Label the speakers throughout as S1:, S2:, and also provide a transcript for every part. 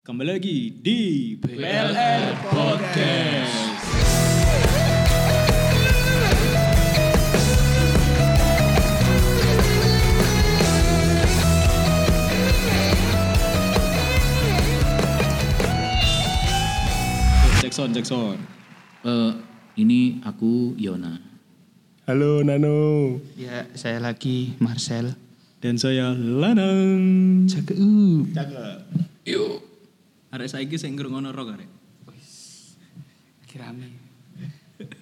S1: Kembali lagi di PLN Podcast. Jackson, Jackson.
S2: Eh, ini aku Yona.
S3: Halo Nano.
S4: Ya, saya lagi Marcel. uh.
S1: Dan saya Lanang.
S4: Cakeu.
S2: Yuk. Arek saiki sing ngrungokno rock arek.
S4: Lagi rame.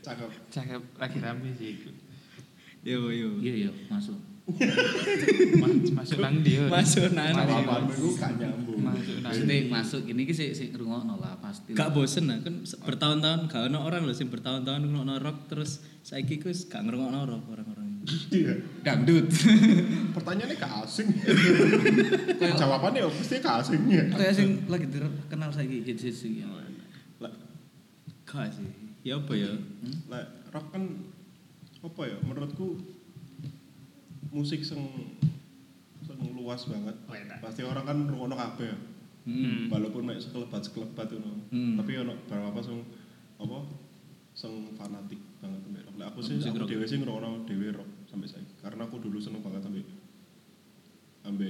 S4: Cakep. Cakep, lagi rame sih. itu.
S1: Yo yo.
S2: Iya, iya, masuk.
S4: Mas- Masuk nang dia.
S2: Masuk nang dia.
S3: Aku gak nyambung.
S4: Masuk nang
S2: Maksudnya Nah, masuk ini ki sik sik ngrungokno lah pasti.
S1: Iya. Gak bosen nah, kan se- bertahun-tahun gak ono orang loh sing bertahun-tahun ngrungokno rock terus saiki ku wis gak ngrungokno rock orang-orang.
S3: Iya.
S2: dangdut.
S3: Pertanyaannya gak asing. Jawabannya ya pasti gak asing ya.
S2: Kayak sing lagi terkenal saiki gitu sih.
S3: Lah,
S1: Gak sih. Ya apa ya?
S3: lah, rock kan apa ya? Menurutku musik sing sing luas banget. Pasti orang kan ngrungokno kabeh. ya.
S1: Hmm.
S3: Walaupun mek sekelebat-sekelebat ngono.
S1: Hmm.
S3: Tapi ono beberapa sing apa sing fanatik banget sampe rock. Lah aku sih
S1: Musik
S3: aku
S1: rock.
S3: dhewe sih ngrungokno dhewe rock sampai saiki. Karena aku dulu seneng banget sampe sampe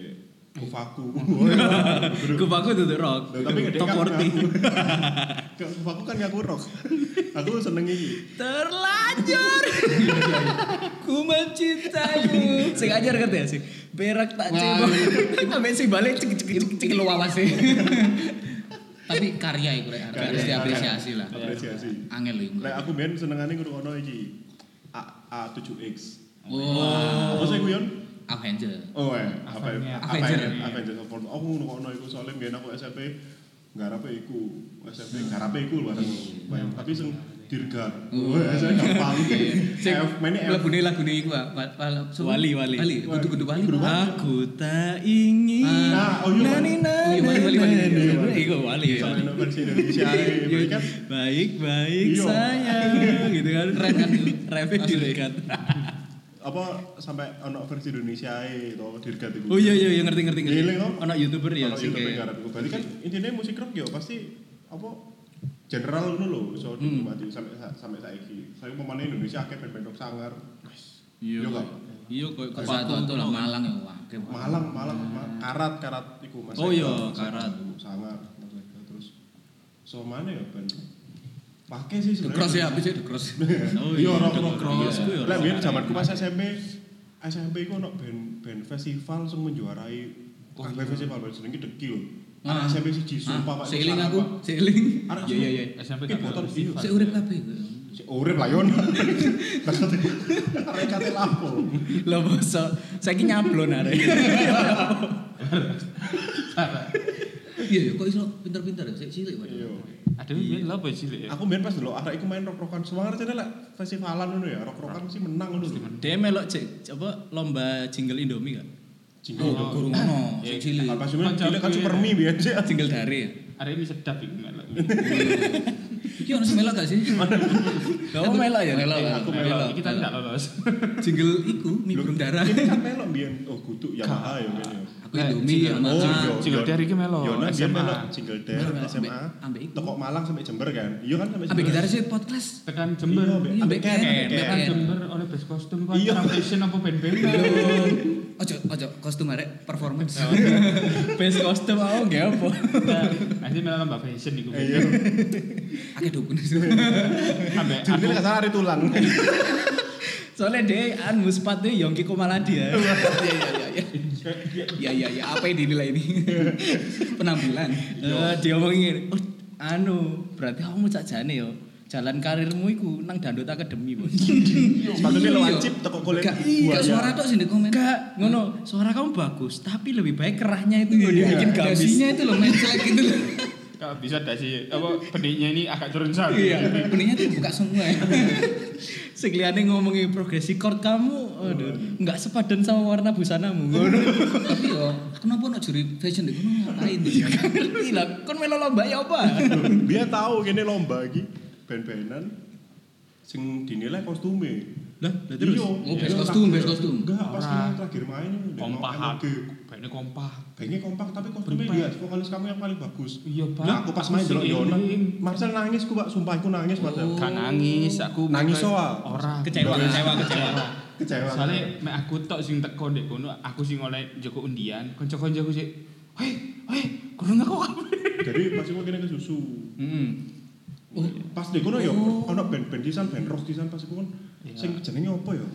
S1: Oh, iya.
S3: kufaku.
S1: Kupaku tuh rock.
S3: Loh, tapi gede
S1: Top
S3: kan
S1: 40.
S3: ngaku. Ke- aku kan ngaku rock aku seneng iki
S1: Terlanjur. Ku mencintaimu. Sing ajar ngerti ya sih. Berak tak cebok. Sampai sing balik cek cek cek cek lu awas sih.
S2: Tapi karya iku rek harus diapresiasi lah.
S3: apresiasi
S2: Angel lho iku.
S3: lek aku ben senengane ngrungokno iki A A7X
S2: Wah,
S1: Oh.
S3: apa sih kuyon
S2: Avenger.
S3: oh eh apa
S4: Avenger.
S3: apa
S2: Avenger.
S1: iya.
S3: ya? Avenger support aku ngrungokno iku soalnya ben aku SMP garape iku
S1: Hmm.
S3: SMP garape iku lho bareng Bayang. tapi sing dirgar
S1: Hmm.
S3: oh saya gampang
S2: Sing
S3: F mainnya F
S2: lagune lagune iku ah. Wa- wa- so-
S1: Wali, wali.
S2: Wali, kudu-kudu wali.
S3: Kudu wali.
S1: Aku tak ingin.
S3: Ah, oh iya,
S1: Nani,
S2: Oh iya, wali, wali, wali.
S1: nani, nani,
S3: Iya,
S1: nani.
S3: wali.
S1: Iku wali. Iya, wali.
S3: Soalnya versi Indonesia ini kan
S1: Baik baik
S3: Iya.
S1: sayang gitu kan.
S2: Keren kan itu?
S1: Rapid
S2: Asli.
S1: dirgat.
S3: apa sampai ono versi Indonesia e to dirgat iku
S1: Oh iya iya iya, ngerti ngerti ngerti.
S3: Ngiling, no?
S1: Anak youtuber ya
S3: Kalau
S1: sing
S3: YouTube
S1: kayak.
S3: negara itu. Berarti kan intinya musik rock ya pasti apa general ngono lho iso
S1: Hmm.
S3: dinikmati sampai sa- sampai saiki. Saya pemane Indonesia akeh band-band rock sangar.
S1: Iya
S3: Yo
S1: kok.
S3: kok.
S1: Iya kok
S2: Kok satu-satu lah Malang ya wah.
S3: Malang, Malang, Ma- karat, karat iku Mas.
S1: Oh
S3: Eko.
S1: iya,
S3: Mas Eko.
S1: Karat.
S3: sangar. Mas Eko. Terus so mana ya band? Pakai sih
S2: The
S3: sebenarnya.
S2: cross ya, habis itu the cross.
S1: Oh
S3: Iya, rock
S1: The
S3: rock
S1: Cross
S3: Iya.
S1: ku ya rock.
S3: Lah biyen zamanku pas SMP SMP iku ono band band festival sing menjuarai kabeh festival band jenenge Deki lho.
S2: Ah.
S3: Anak SMP siji sumpah Pak. itu
S2: Seiling
S3: sangar,
S2: aku,
S3: Pak. Iya,
S2: seiling.
S3: Arek
S1: Iya, iya, iya.
S4: SMP
S3: Ki boten iyo.
S2: Saya urip kabeh.
S3: Si urip lah yon. Tekate rekate lapo.
S1: Lah boso, saiki nyablon arek.
S2: Iya, iya, kok iso pinter-pinter ya, saya cilik waduh.
S3: Iya.
S4: Ada yang bilang apa cilik ya?
S3: Aku main pas dulu arek iku main rock-rockan suwangar cene lek festivalan ngono ya, rock-rockan mesti menang ngono lho.
S1: Dia melok cek apa lomba jingle Indomie gak?
S3: Jinggo.
S2: Guru ngono, saya cilik.
S3: Kalau pas main cilik kan super mie biyen sih.
S1: Jingle dari ya.
S4: Ada yang sedap itu melok.
S2: Iki ono sing melok gak sih?
S3: Iya.
S1: Kamu melok ya?
S2: Melok,
S4: Aku melok. Kita enggak Eh, lolos.
S1: Jingle iku mie darah.
S3: Ini kan melok biyen oh guduk Yamaha ya biyen. ya.
S2: Aku Indomie ya,
S4: Oh,
S2: makan.
S3: iya,
S4: Jingle Dare iki melok,
S3: Yona dia
S4: SMA.
S3: nah, melok Jingle Dare
S2: Melok, melok,
S3: SMA.
S2: ambek- ambek iku.
S3: Tekok Malang sampai Jember kan. Iya kan sampai
S2: Ambek gitaris sih podcast.
S4: Tekan
S3: Iya,
S4: Jember.
S3: Mbak.
S2: Iya, Ambek
S3: Ambek
S2: Ken,
S3: Ken,
S2: ambek
S4: Tekan
S2: Ken.
S4: Jember oleh best kostum kan.
S3: Iya.
S4: Iya. Fashion apa band-band.
S2: Iya. Ojo, ojo kostum arek performance.
S1: Ya, Best costume aku gak apa.
S4: Nah, Nanti melok Mbak Fashion iku.
S3: Eh, Iya.
S2: Akeh dukun.
S1: Iya,
S4: Ambek
S3: Jadi
S4: aku
S3: nggak salah hari tulang.
S1: Soalnya dia anu sepatnya Yongki Komaladi ya.
S2: Iya, iya, iya, iya. Iya, iya, iya, apa yang dinilai ini? Penampilan.
S1: Eh, dia ngomongin, oh, anu berarti kamu cajane yo. Jalan karirmu iku nang dandut akademi bos.
S3: Sepatutnya lo Iya, wajib tekok kulit.
S2: Iya.
S3: Iya.
S2: Gak, gak suara tok sih di komen.
S1: Enggak, ngono. Suara kamu bagus, tapi lebih baik kerahnya
S2: Iya,
S1: itu gue dibikin gamis.
S2: Dasinya itu loh, main jelek gitu loh.
S4: kalau bisa dah sih apa benihnya ini agak turun sang.
S2: Iya, benihnya tuh buka semua ya.
S1: Sekaliannya ngomongin progresi chord kamu, aduh, nggak sepadan sama warna busanamu.
S2: Tapi yo, kenapa ono juri fashion di kono ngapain tuh?
S1: Ngerti lah, kon melo lomba ya apa?
S3: Dia tahu gini lomba iki ben-benan sing dinilai kostume. Iya.
S5: Lah, lah terus.
S1: Oh, best kostum, best kostum.
S3: Enggak, pas
S4: Ora.
S3: kita terakhir main udah
S4: Kompak.
S3: nol MLG.
S4: Kayaknya kompak.
S3: Kayaknya kompak tapi kostumnya
S4: Kompak.
S3: dia vokalis kamu yang paling bagus.
S4: Iya, Pak.
S3: Nah, aku pas main
S4: Aku
S3: delok
S4: sih
S3: Yona.
S4: eling.
S3: Marcel nangis ku, Pak. Sumpah aku nangis, Marcel.
S1: Oh.
S4: Gak nangis, aku
S3: Nangis
S4: bukan-
S3: soal.
S4: Ora.
S5: Kecewa,
S4: Bukan.
S5: kecewa, kecewa.
S3: Kecewa.
S4: Soalnya mek aku tok sing teko ndek kono, aku sing oleh Joko undian, kanca-kancaku sik, "Hei, hei, kurang aku kabeh."
S3: Jadi pas aku kene ke susu.
S4: Heeh.
S1: Oh,
S3: Pas di kono ya
S1: Oh.
S3: ono band-band disan, band rock disan pas aku kan.
S4: Iya.
S3: Sing jenenge apa ya?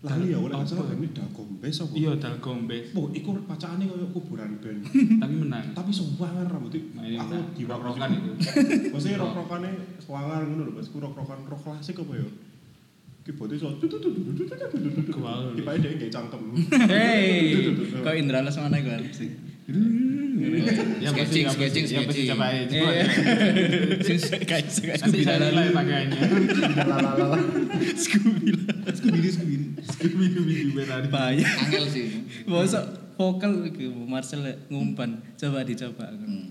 S3: Lali ya, oleh
S4: Apa?
S3: nggak salah band ini Dagom Bes apa?
S4: Iya, dal gombe,
S3: Oh, iku pacane koyo kuburan band.
S4: tapi menang.
S3: Tapi sewangan rambutnya.
S4: Nah, ini
S3: Aku
S4: menang. Rok-rokan itu.
S3: Maksudnya rok-rokannya sewangan ngono lho, Mas. Ku rok-rokan rok klasik apa ya? Keyboardnya so
S4: Kual.
S3: Tiba-tiba dia nggak cangkem.
S1: Hei, kau Indra Las mana gue sih?
S4: Yang pasti,
S1: Sketching,
S4: yang pasti,
S1: sketching,
S4: yang pasti
S1: sketching.
S4: coba aja. Coba
S1: Iya.
S4: aja.
S1: Sing kayak sing
S4: Nanti
S1: Scooby
S4: saya
S1: Doo.
S4: nilai pakaiannya.
S3: Lalalala.
S1: Scooby Doo.
S3: Scooby Doo, Scooby Doo.
S4: Scooby-Doo berani.
S1: Bahaya.
S2: Angel sih.
S1: Mosok vokal iku Marcel ngumpan. Coba dicoba.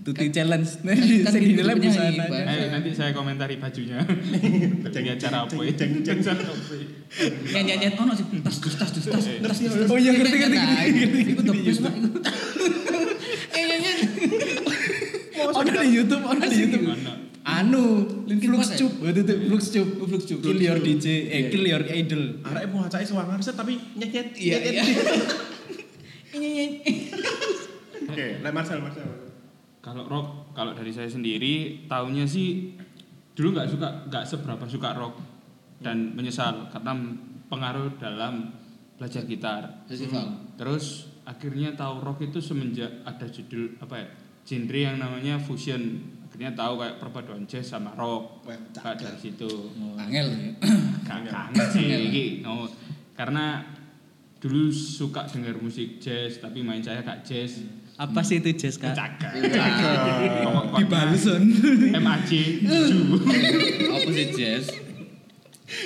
S1: Tuti
S2: Kan-
S1: challenge.
S2: kan
S1: Nanti
S2: gitu
S1: dinilai
S2: penyanyi,
S1: busana.
S2: Bang.
S4: Eh, nanti saya komentari bajunya. Ini acara apa ya?
S3: Ceng, ceng, ceng.
S2: Kayak nyanyian ono sih tas tas tas tas tas. tas, tas, tas.
S1: Oh iya, ngerti, ngerti,
S2: Nah,
S1: ngerti, ngerti,
S2: Iku the best Pak, iku. Eh nyanyian.
S1: Ono di YouTube, ono di YouTube.
S4: Ono.
S1: Anu,
S2: Linkin
S1: Flux
S2: Park ya?
S1: Cube, waktu itu Flux Cube, Oh, Flux Cube, Kill Your DJ, eh Kill Your Idol.
S3: Arek mau ngacai sewangan set tapi nyet-nyet.
S1: Iya, iya.
S2: Nyanyian.
S3: Oke, lek Marcel, Marcel.
S4: Kalau rock, kalau dari saya sendiri, tahunya sih dulu nggak suka, nggak seberapa suka rock dan menyesal karena pengaruh dalam belajar gitar.
S2: Festival.
S4: Terus akhirnya tahu rock itu semenjak ada judul apa ya? genre yang namanya fusion. Akhirnya tahu kayak perpaduan jazz sama rock.
S3: Wah,
S4: Kayak dari situ.
S2: Angel.
S4: Kangen sih iki. No. Karena dulu suka dengar musik jazz tapi main saya gak jazz.
S1: Apa sih itu Jess kak?
S4: Cakak.
S1: Di Baluson.
S4: MAC Ju.
S2: Apa sih jazz?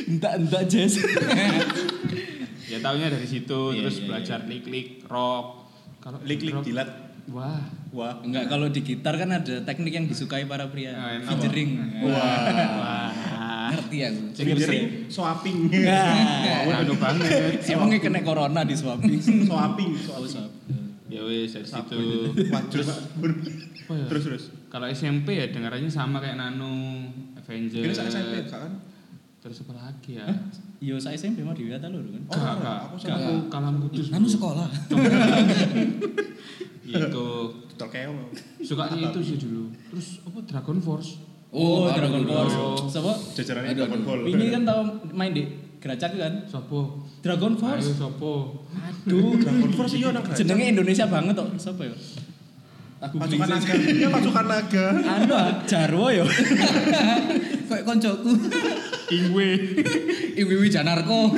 S1: Entah, entah Jess.
S4: Ya taunya dari
S3: Iya,
S4: situ terus belajar klik-klik rock. Kalau
S3: Lik-lik
S4: rock-
S3: dilat.
S4: Wah.
S3: Wah.
S1: Enggak, kalau di gitar kan ada teknik yang disukai para pria.
S4: Ah, emang.
S1: Featuring.
S4: Wah.
S2: Ngerti aku.
S3: Fingering, swapping.
S1: Nah,
S4: Anu banget.
S1: emangnya kena corona di suapi.
S3: Swapping, swapping.
S4: Ya wes dari situ.
S3: Wajur, Pak.
S4: Apa ya?
S3: Terus, terus.
S4: Kalau SMP ya dengarannya sama kayak Nano, Avenger.
S3: Kira saya SMP kan?
S4: Terus apa lagi ya?
S1: Yo, saya SMP mau diwiata lho kan.
S4: Gak,
S3: Oh, enggak.
S4: gak.
S3: Aku
S4: Gak,
S3: sama
S4: aku kalam kudus.
S2: Nanu
S4: Bro.
S2: Anu, sekolah.
S4: Itu
S3: Tutor keong.
S4: sukanya itu sih dulu. Terus apa Dragon Force?
S1: Oh, Dragon Force.
S4: Oh.
S1: Sopo?
S3: Jajarannya
S2: Aduh,
S3: Dragon Ball.
S1: Ini kan tau main di Geracak kan?
S4: Sopo?
S1: Dragon
S4: Ayo
S1: Force.
S4: sopo?
S1: Aduh,
S3: Dragon Force iya nang Geracak.
S1: jenenge Indonesia banget kok. ya? Sopo yo?
S3: Pasukan naga. Iya, pasukan naga.
S1: Anu ah, Jarwo yo.
S2: Kayak koncoku.
S4: Ingwe.
S2: Ibu-ibu janarko.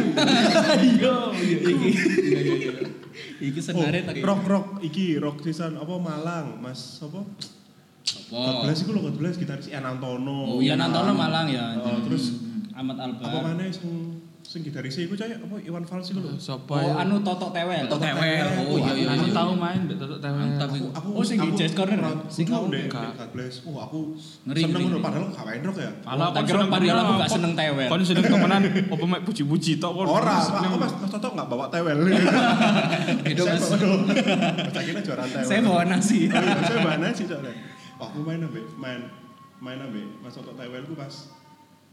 S1: Iki senare tak.
S3: Oh, rock rock iki rock sisan apa Malang, Mas apa?
S2: Apa?
S3: 14 iku lho 14 gitaris Ian Antono.
S1: Oh, iya Nantono Malang hmm. ya.
S3: Oh, terus
S1: Ahmad
S3: apa
S1: Albar.
S3: maneh sing sing gitaris iku cah apa Iwan Fals iku lho.
S4: Sopo?
S1: Oh,
S4: ya?
S1: anu Totok Tewel.
S2: Toto Tewel. Oh iya iya.
S4: Aku
S2: iya.
S4: tahu main Mbak Toto Tewel.
S2: Mantap iku.
S3: Aku
S1: Oh, sing di Jazz Corner ya? Sing
S3: sing
S1: kamu
S3: kamu deh
S4: enggak.
S3: 14. Oh, aku
S2: Ngeri,
S3: seneng
S2: ngeri,
S3: ngono
S2: ngeri.
S3: padahal gak main rock ya.
S4: Malah
S1: Tak
S4: kon
S1: kira
S4: seneng
S1: padahal aku
S4: temenan,
S1: gak
S4: kon-
S1: seneng tewel.
S4: Kon seneng temenan opo mek puji-puji tok kon.
S3: Ora, Pak,
S4: Seneng.
S3: aku pas pas Toto gak bawa tewel.
S2: Beda,
S3: Saya
S2: Mas.
S3: bawa doang. Mas akhirnya juara tewel.
S1: Saya bawa nasi.
S3: Oh iya, saya mana sih soalnya? Oh, aku main ambe, main main ambe Mas Toto Tewel ku pas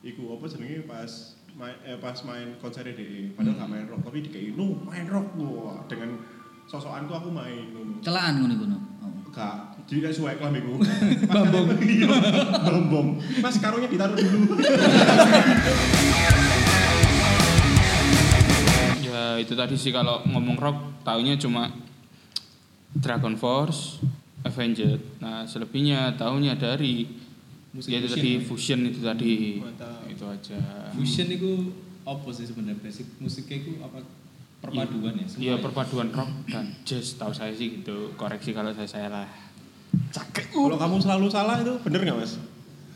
S3: iku apa jenenge pas main eh, pas main konser DE. Padahal gak main rock, tapi dikei nu main rock wah dengan sosokanku aku main ngono.
S2: Celaan ngono iku. no. Oh.
S3: Gak, jadi kayak suwek lah iku.
S1: Bambong.
S3: Iya, Bambong. Mas karungnya ditaruh dulu.
S4: Ya itu tadi sih kalau ngomong rock taunya cuma Dragon Force, Avenger. Nah selebihnya taunya dari
S1: Musik
S4: ya itu
S1: fusion
S4: tadi
S1: ya?
S4: fusion itu tadi
S3: Mantap.
S4: itu aja.
S1: Fusion itu apa sih sebenarnya basic musiknya itu apa perpaduan ya? semua
S4: Iya perpaduan rock dan jazz tahu saya sih gitu. Koreksi kalau saya salah.
S3: Cakek. Kalau kamu selalu salah itu bener gak mas?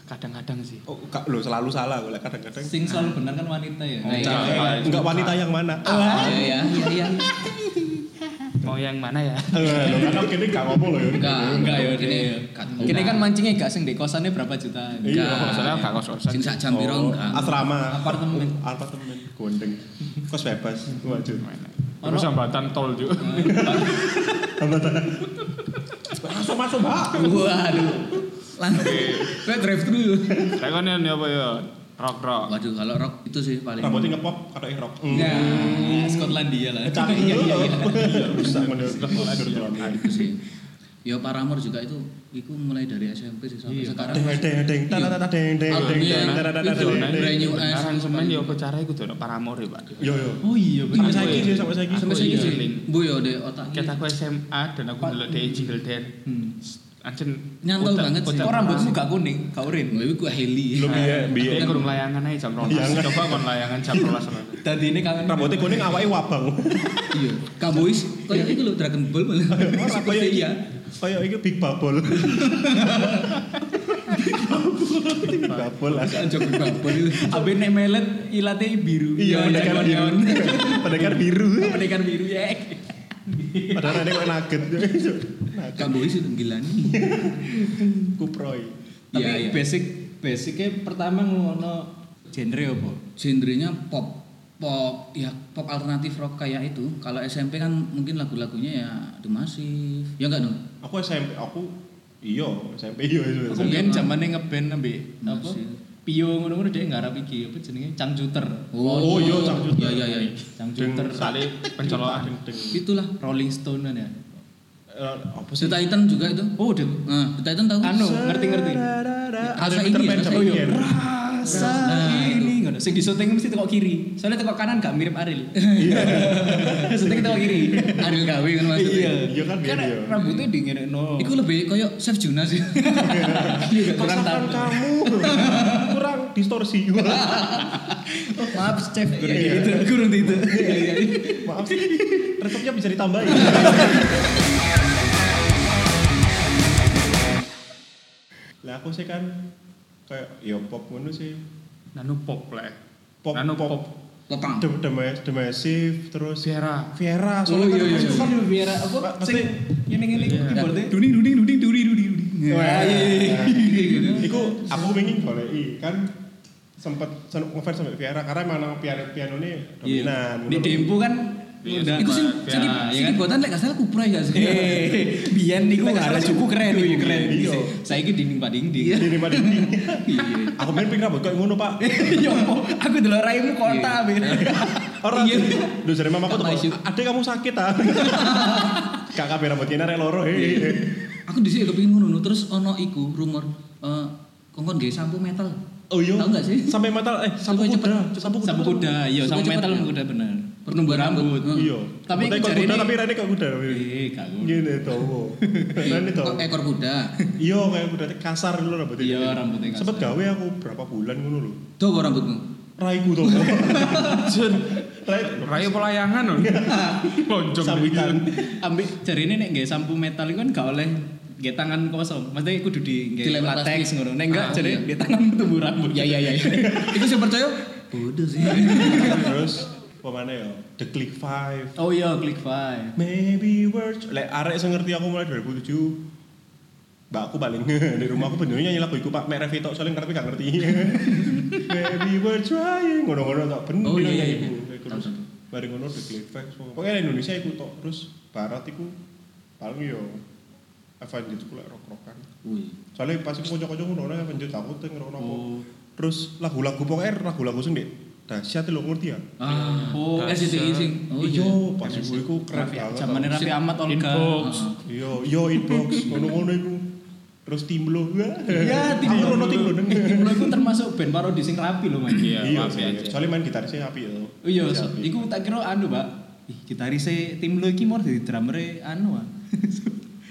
S4: Kadang-kadang sih.
S3: Oh, gak, lo selalu salah gue kadang-kadang.
S1: Sing selalu benar kan wanita ya.
S2: Nah, iya.
S4: Enggak, enggak.
S3: Enggak wanita yang mana?
S1: Ah.
S2: Iya iya iya iya.
S1: Eh.
S4: Mau yang mana ya?
S3: Lo kan gini gak ngomong lo ya.
S2: Enggak
S1: Enggak ya
S2: Kini
S1: deh.
S2: gak tahu.
S1: Kini kan mancingnya gak sing di kosannya berapa juta?
S3: Iya.
S4: Kalau salah gak kos-kosan.
S2: Sing sak jam piro
S3: Oh,
S2: enggak.
S3: Asrama.
S1: Apartemen.
S3: Apartemen. Gondeng. Kos bebas. Waduh.
S4: Terus hambatan tol juga.
S3: Masuk masuk mbak.
S2: Waduh. Langsung.
S1: Kayak drive thru.
S4: Saya kan ini apa ya? Rock rock.
S2: Waduh kalau rock itu sih paling. Iya. Ya,
S3: Rambutnya ngepop, kata ngerok.
S1: Nah, Skotlandia lah.
S3: Cari
S1: Iya, iya, iya.
S3: iya. Rusak Iya, menurut
S2: Nah, itu sih. Ya Paramore juga itu itu mulai dari SMP sih sampai
S4: Iya,
S2: sekarang.
S3: Deng deng deng tadadada, deng deng
S2: Ah,
S3: deng
S2: iya.
S3: deng tadadada,
S2: Itu,
S3: deng,
S2: nah,
S3: deng.
S2: brand new eyes.
S4: Sekarang semen ya apa cara itu tuh paramore pak.
S3: Yo yo.
S1: Oh iya,
S3: Sampai
S1: bener.
S3: saiki sih sampai saiki.
S4: Aku
S2: Sampai saiki
S4: iya.
S2: sih. Bu ya deh otak.
S4: Kita aku SMA dan aku dulu di jingle dan
S1: Hmm.
S4: Ancen
S2: Nyantol banget sih.
S1: Kok rambutmu gak kuning, gak
S2: Gue
S1: urin.
S2: itu heli.
S3: Belum iya, biye.
S4: Iya, kurang layangan aja jam rolas.
S3: Layangan.
S4: Coba kon layangan jam rolas.
S1: Tadi ini kangen
S3: Rambutnya kuning awake wabang.
S2: Iya. Cowboys kayak itu loh Dragon Ball malah.
S3: Ora
S2: Seperti
S3: kaya
S2: Oh, iya.
S3: Kayak iki Big Bubble. Big Bubble lah.
S2: Kan Jogi Babon itu.
S1: Abe nek melet ilate biru.
S3: Iya, pendekar biru. Pendekar biru.
S1: Pendekar biru ya.
S3: Padahal ada kok nugget. Nugget.
S2: Cowboys itu gila nih.
S3: Kuproy.
S1: Tapi
S2: Iya, iya.
S1: basic basicnya pertama ngono genre apa?
S2: Genrenya pop pop ya pop alternatif rock kayak itu kalau SMP kan mungkin lagu-lagunya ya The Massive ya enggak dong
S3: Aku SMP, aku iya, SMP iya. iya,
S1: Aku
S3: SMP.
S1: biyen zamane ngeband ambe apa?
S2: Masih.
S1: Pio ngono-ngono dia ngarap iki apa jenenge cangcuter.
S3: Oh, iya, Cang Juter.
S2: ya ya ya
S1: Cangcuter
S4: Kali pencolokan.
S3: Deng, deng.
S2: itulah
S1: Rolling Stone ya.
S3: Eh, Apa sih?
S2: The Titan juga itu
S1: Oh, udah.
S2: nah The Titan tahu
S1: Anu, ngerti-ngerti.
S2: Rasa
S3: Ada
S2: ini,
S3: Peter Pan
S2: rasa
S3: sama
S2: ini.
S3: Ian.
S1: Rasa
S2: Nah,
S1: ini ngono. Sing disunting mesti tekok kiri. Soalnya tekok kanan gak mirip Ariel. Iya. Sunting tekok kiri. Hmm.
S2: Ariel Gawe kan maksudnya
S1: Iya.
S3: Iya kan,
S1: Karena
S3: iya.
S1: rambutnya di ngene-no.
S2: Iku lebih koyo Chef Juna sih. Iya, kurang tahu.
S3: Pasangan kamu kurang distorsi.
S1: Oh, maaf chef kurang
S3: Iya, iya.
S1: itu kurang itu
S2: Iya,
S3: Maaf sih, resepnya bisa ditambahin. Lah aku sih kan kayak ya pop ngono sih.
S4: Nano pop lah.
S3: Pop
S4: Nano
S3: pop.
S4: pop.
S2: Popang.
S3: The, the, Mas- The Massive, terus
S4: Viera.
S3: Viera
S2: Oh, iya, iya, iya.
S3: kan-
S1: kan di biara
S3: Pak,
S1: apa
S3: pasti-
S1: sing ini ini
S4: Iya.
S1: keyboardnya
S2: Duning duning duning duning duning duning.
S3: Wah, iya, iya,
S2: Gitu.
S3: Iku aku pengen boleh i kan sempet sen- ngefans sampai Viera karena memang piano piano ini dominan.
S1: Iya. di
S3: ngono.
S1: dempo kan
S4: Iya,
S1: udah
S2: Iku sih
S4: Viera,
S2: sing
S1: ya
S2: sing
S1: kan?
S2: buatan lek gak salah ya. kupre gak
S3: Iya.
S2: sih.
S1: eh biyen niku
S3: Nek
S1: nggak ada
S3: salah
S1: cukup keren
S3: iya,
S1: keren
S3: iya.
S1: saya ini dinding pak dinding
S2: Iya.
S3: Di depan ini. Aku main pengen rambut kayak ngono pak.
S1: ya apa? aku dulu raimu
S2: Iya.
S1: kota Ben.
S3: Orang
S1: Iya.
S3: iya. Duh dari mamaku tuh.
S2: Apa sih?
S3: Adek kamu sakit ah. Kak kabeh rambut kena rek loro
S1: Iya.
S3: he.
S2: Aku di sini kepengin ngono terus ono iku rumor eh kongkon nggih sampo metal.
S3: Oh iya.
S2: Tahu nggak sih?
S3: Sampai metal eh sampo
S2: Sampai cepet,
S3: kuda, sampo kuda.
S1: sama kuda iya sama
S2: Supaya
S1: metal sama
S2: cepet, ya?
S1: kuda bener
S2: Penumbuh rambut.
S3: Iya.
S1: Tapi
S3: Tapi kok
S1: jari
S3: kuda
S1: ini-
S3: tapi rene kok kuda.
S1: eh gak kuda.
S3: Gini tuh. Rene tuh.
S2: Kok ekor kuda.
S3: Iya kayak kuda teh kasar dulu rambutnya.
S1: Iya, rambutnya kasar.
S3: Sempet gawe aku berapa bulan ngono lho.
S2: Tuh kok rambutmu.
S3: Raiku tuh. Jen. Rai
S4: Rayo pelayangan loh. Lonjong.
S3: sambitan.
S1: ambil jari ini nek nggak sampo metal itu kan gak oleh nggak tangan kosong maksudnya kudu di nggak
S2: Dilempar
S1: latex
S2: plastik.
S1: ngono nek enggak
S2: Ah,
S1: jari
S2: iya.
S1: di tangan tumbuh rambut
S2: Ya ya ya. ya. Iku sih percaya bodoh sih.
S3: Terus pemane ya The Click Five.
S1: oh iya klik five
S3: Maybe we're Lek arek sing ngerti aku mulai 2007 Mbak aku paling di rumah aku bener nyanyi lagu iku Pak Mek Revito soalnya ngerti gak ngerti. Maybe we're trying ngono-ngono tak bener
S2: Oh, iya, iya.
S3: nyanyi iku. Terus
S2: Tahu,
S3: bareng ngono di Click Facts. Pokoknya Indonesia iku tok terus barat iku paling yo Avenged iku lek rock-rockan.
S2: Wih.
S3: Soalnya pas aku kocok-kocok ngono nek Avenged aku teng ngono apa.
S1: Oh.
S3: Terus lagu-lagu pokoknya lagu-lagu sing Dik, dahsyat lho ngerti ya.
S2: Ah,
S1: Oh,
S2: SCTI sing.
S3: Iya, pas iku iku keren banget.
S1: Zaman ya, Raffi
S2: Sip.
S1: Ahmad Olga.
S4: Inbox.
S3: Yo, yo inbox ngono-ngono iku. Terus timlo.
S1: Ya, Timlo.
S3: Aku rono timlo neng.
S1: Timlo itu termasuk band parodi sing rapi loh Mas.
S4: Iya,
S3: Iya,
S4: maaf ya.
S3: iya. soalnya main gitarisnya api ya.
S1: Oh iya,
S3: Masih
S1: so,
S3: api.
S1: iku tak kira anu, Pak. Ih, gitarise Timlo iki mor dadi drumere anu. ah.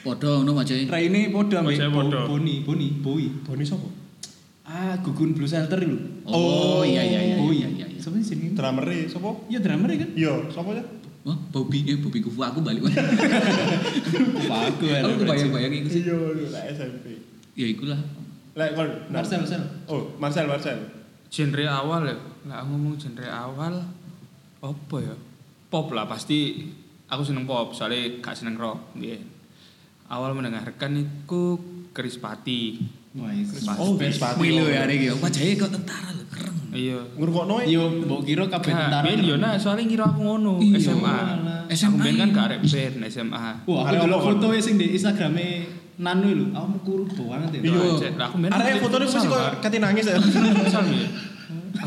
S2: Podo ngono wajahe.
S1: Raine podo ambek
S4: Wajahnya
S1: Bo-
S4: podo.
S1: Boni, Boni, Bowie.
S3: Boni sapa?
S1: Ah, Gugun Blue Shelter lho.
S2: Oh, iya iya iya.
S1: Bowie ya.
S2: iya, iya.
S1: Sapa sih jenenge?
S3: Drummer sapa?
S1: Iya drumere kan.
S3: Yo, sapa ya?
S2: Wah, Bobby eh Bobby Kufu aku balik.
S1: Aku
S2: aku kebayang-bayang iku sih.
S3: Iya, iya, lah SMP.
S2: Ya ikulah.
S3: Lah kon. nah.
S1: Marcel, Marcel.
S3: Oh, Marcel, Marcel.
S4: Genre awal ya. Lah aku ngomong genre awal. Apa ya? Pop lah pasti. Aku seneng pop soalnya gak seneng rock. Iya. Awal mendengarkan itu Krispati.
S1: Wah, iya.
S4: Krispati.
S3: Oh, Chris Patio.
S2: Milo ya hari iki. Wajahe kok tentara lho, keren.
S4: Iya.
S3: Ngrungokno e?
S1: Yo mbok kira kabeh
S4: Nah,
S1: tentara.
S4: Ben yo nak soalnya ngira aku ngono
S2: Iya,
S4: SMA.
S1: malah.
S2: SMA,
S4: Aku ben kan
S2: iya.
S4: gak arek band SMA.
S1: Wah, aku
S3: Arek
S1: delok
S3: apa,
S1: fotoe sing di Instagrame Nanu lho, aku mekuru banget ya.
S4: Iya,
S3: Iya.
S4: Cek. Lah, aku ben.
S3: Arek fotonya mesti kok kate nangis ya.
S4: Kesal, ya.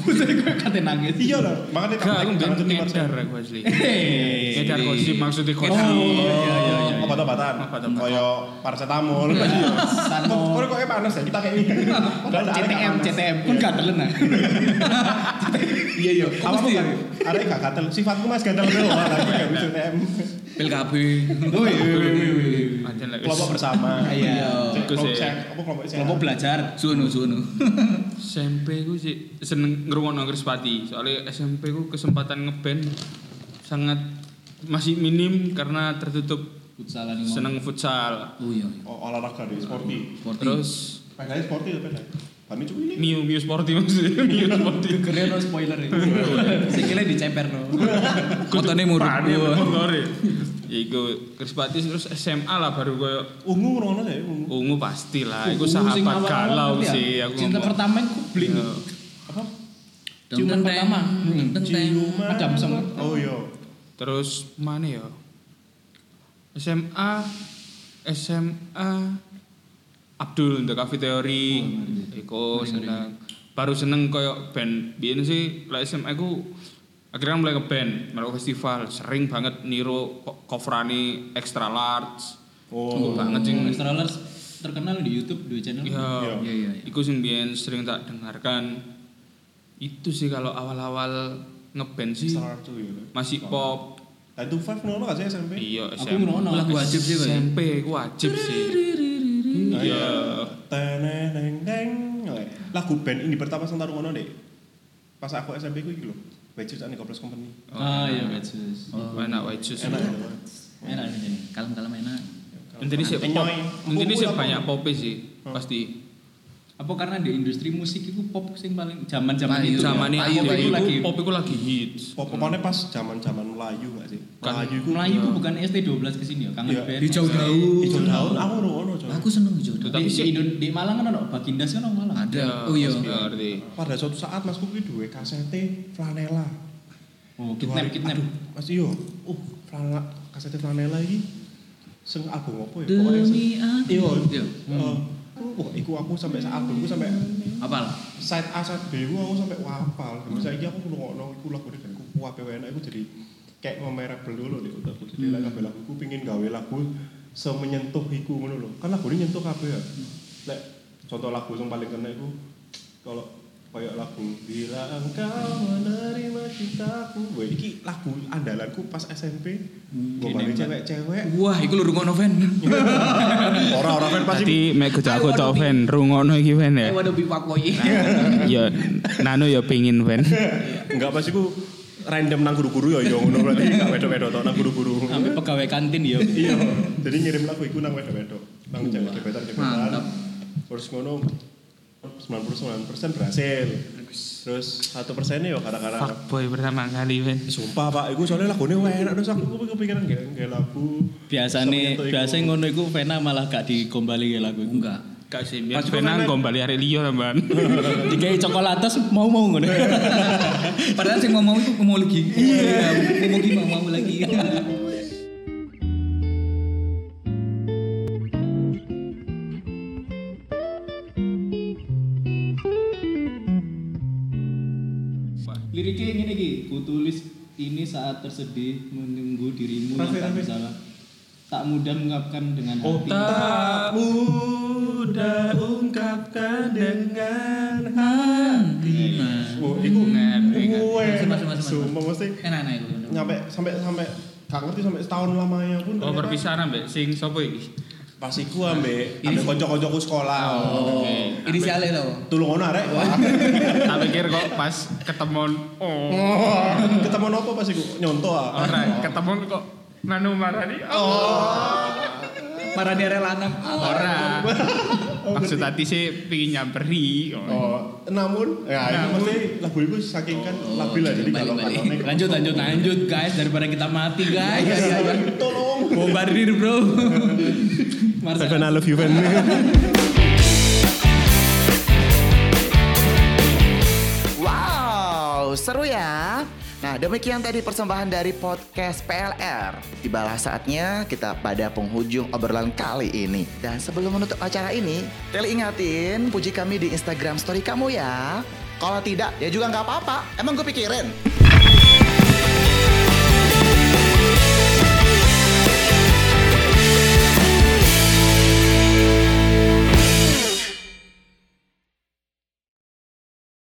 S1: Aku tuh kok kate nangis.
S3: Iya lah, makanya
S4: Gak, aku ben
S3: tuh
S4: ngedar aku asli.
S1: Hei.
S4: Ngedar gosip maksudnya gosip.
S1: iya, iya, iya.
S3: Obat-obatan,
S4: Obat-obatan.
S3: koyo paracetamol.
S1: Sano.
S3: Kok kok kayak panas ya kita kayak ini. Padahal
S1: CTM,
S3: arek gak panas.
S1: CTM. Kan gak telen ah.
S3: Iya iya.
S1: Kok
S3: Apa
S1: mesti ya?
S3: kan? Arek gak gatel. Sifatku mas gatel doang. Lah aku
S1: Iya.
S3: gak bisa CTM.
S2: Pil KB.
S1: Woi, woi, woi, woi.
S4: Ada lah, wis.
S3: Kelompok bersama.
S1: Iya.
S3: Cek,
S4: Bagus
S3: kelompok
S4: ya.
S3: cek, apa kelompok cek?
S1: Kelompok belajar.
S2: Suwono, suwono.
S4: SMP ku sih seneng ngrungokno Krispati. Soalnya SMP ku kesempatan ngeband sangat masih minim karena tertutup
S2: Futsalan ini.
S4: seneng futsal.
S2: Oh iya. iya.
S3: Oh, olahraga deh, sporty.
S2: Sporty.
S4: Terus
S3: Pedalnya sporty ya pedal. Kami cuma ini.
S4: Mio Mio Sporty maksudnya Mio Sporty.
S1: Keren no spoiler ya. Sikile diceper no.
S2: Kotone muruk.
S4: Pane motore. Ya iku Krispati terus SMA lah baru koyo
S3: Ungu ngono ya, ungu.
S4: ungu pasti lah. Iku
S1: Ungu sing
S4: sahabat
S1: awal-awal
S4: galau
S1: ngerti ya?
S4: sih aku.
S1: Cinta
S4: ngomong.
S1: pertama ku bling.
S4: Iya.
S3: Apa?
S1: Ciuman pertama.
S2: Teng
S3: Hmm,
S2: teng.
S3: Ciuman.
S1: Adam Song.
S3: Oh iya.
S4: Terus mana ya? SMA SMA Abdul The Cafe
S2: Oh,
S4: Theory
S2: iya.
S4: Eko seneng baru seneng koyo band biyen sih lah SMA ku akhirnya mulai ke band melakukan festival sering banget niru ko- coverani extra large
S3: Oh.
S4: Iku banget sing
S1: Astralers Hmm. terkenal di YouTube dua channel.
S4: ya
S2: Iya iya iya.
S4: iku sing biyen sering tak dengarkan itu sih kalau awal-awal ngeband sih
S3: Star tuh ya.
S4: masih pop
S3: Tadi tuh five ngono gak sih SMP?
S4: Iya,
S1: Aku ngrono.
S2: Lagu wajib sih, Pak.
S4: SMP ku wajib sih. Iya.
S3: Teneneng neng. Lagu band ini pertama sing taruh ngono deh. Pas aku SMP ku iki lho. Wajib sak Koples Company.
S1: Ah iya, Betsus.
S4: Oh, Enak white shoes.
S3: Enak. ya.
S1: Enak nih.
S2: Kalem kalem enak.
S4: Intinya sih pop.
S3: Enyoy.
S4: Intinya sih
S3: Empuk-empuk
S4: banyak
S3: apa?
S4: pop sih.
S3: Hmm.
S4: Pasti.
S1: Apa karena di industri musik itu pop sing paling zaman-zaman
S2: Nah,
S1: itu. ya?
S4: Zaman
S1: Pop
S4: itu
S1: itu lagi.
S4: pop iku lagi hits.
S3: Pokoknya pas zaman-zaman Melayu gak sih?
S4: Kan.
S3: Melayu iku
S1: Melayu itu bukan ST12 kesini ya, kangen
S3: Iya.
S1: band.
S2: Hijau daun.
S3: ijo daun aku ro ono coy.
S2: Aku seneng hijau daun.
S4: Tapi
S1: Di,
S4: sih-
S1: di, Indon- di Malang kan ada Bagindas kan ada Malang.
S2: Ada. Oh iya.
S4: Ah, Ngerti.
S3: Pada suatu saat Mas Kuki duwe kasete flanela.
S1: Oh, kidnap
S3: Dua-
S1: kidnap.
S3: Aduh, Mas iyo. Uh, flanela kasete flanela iki sing album apa ya? Pokoknya sing-
S2: Demi aku.
S3: Iya.
S2: Iya.
S3: Eh, Wah, iku aku sampai saat album, aku sampai
S2: Apal?
S3: side A side B, aku sampai wapal. Sampai saiki aku kudu ngono, aku lagu dan aku kuat ya, enak, aku jadi kayak memerable dulu di otakku. Jadi lah kabeh lagu, aku pingin gawe lagu semenyentuh iku ngono lho. Kan lagu ini nyentuh kabeh ya. Lek contoh lagu yang paling kena iku kalau kayak lagu bila engkau menerima cintaku. Wah, iki lagu andalanku pas SMP. Gue balik cewek-cewek.
S2: Wah, iku lu rungokno Ven.
S1: Iya.
S3: Orang-orang kan pasti
S4: Tadi mek
S2: I
S4: aku
S2: wanna
S4: tau
S2: be-
S4: fan, rungokno iki fan ya.
S2: I wanna be fuckboy.
S1: Iya.
S4: Ya, Nano ya pingin fan.
S3: Enggak pasti ku random nang guru-guru ya yo ngono berarti gak wedo-wedo tok nang guru-guru.
S1: Sampai pegawai kantin ya.
S3: Iya. Jadi ngirim lagu iku nang wedo-wedo. Nang
S2: Wah,
S3: jalan gebetan
S2: mantap.
S3: gebetan. Terus ngono 99% berhasil. Terus 1% persennya ya kadang-kadang
S4: Fuckboy pertama kali fan.
S3: Sumpah pak, iku soalnya lagunya enak terus aku aku kepikiran gak gak lagu.
S1: Biasane
S3: Semenyentuh iku.
S1: biasane ngono iku Vena malah gak dikombali ya lagu iku.
S2: Enggak.
S4: Kak sih, biar
S3: Pas iku
S4: Fena
S3: fan-
S4: gombali arek liyo tambahan.
S1: Dikai coklatas mau-mau ngono.
S2: Padahal sing mau mau itu mau lagi. Iya. Mau lagi mau mau lagi. Iya.
S1: Liriknya ngene iki, ku tulis ini saat tersedih menunggu dirimu yang
S3: Rafi,
S1: tak
S3: Rafi.
S1: bersalah. Tak mudah mengungkapkan dengan
S3: Oh,
S1: hati.
S4: Tak
S3: mudah ungkapkan dengan Oh, iku
S2: Ngerti, ngerti.
S3: Gue.
S2: Masuk, masuk, masuk, masuk.
S3: Sumpah mesti
S2: Enak enak itu.
S3: nyampe sampai sampai gak ngerti sampai setahun lamanya pun
S4: Oh
S3: ternyata
S4: perpisahan mbak, sing sopo iki?
S3: pas iku ambek ambek kanca-kancaku sekolah
S2: Oh.
S1: Iya.
S2: Ini si Ale tau.
S3: tulung ono arek
S4: Tak pikir kok pas ketemuan oh
S3: ketemu nopo pas iku nyonto ah
S4: orang ketemuan kok Nanu Marani oh
S2: Para daerah lanang.
S1: Iya.
S4: orang maksud hati sih pingin nyamperi oh.
S3: oh namun ya itu
S4: Namun.
S3: mesti Oh, lagu iku saking kan labil lah jadi
S2: jadi
S3: kalau
S2: balik-balik.
S3: katone
S1: Lanjut lanjut lanjut guys daripada kita mati guys.
S3: Iya, iya, iya. tolong
S1: Bombardir bro. Marcel.
S3: I love you Van
S6: Wow. Seru ya? Nah demikian tadi persembahan dari podcast PLR. Tibalah saatnya kita pada penghujung obrolan kali ini. Dan sebelum menutup acara ini, Teli ingatin puji kami di Instagram story kamu ya. Kalau tidak, ya juga nggak apa-apa. Emang gue pikirin.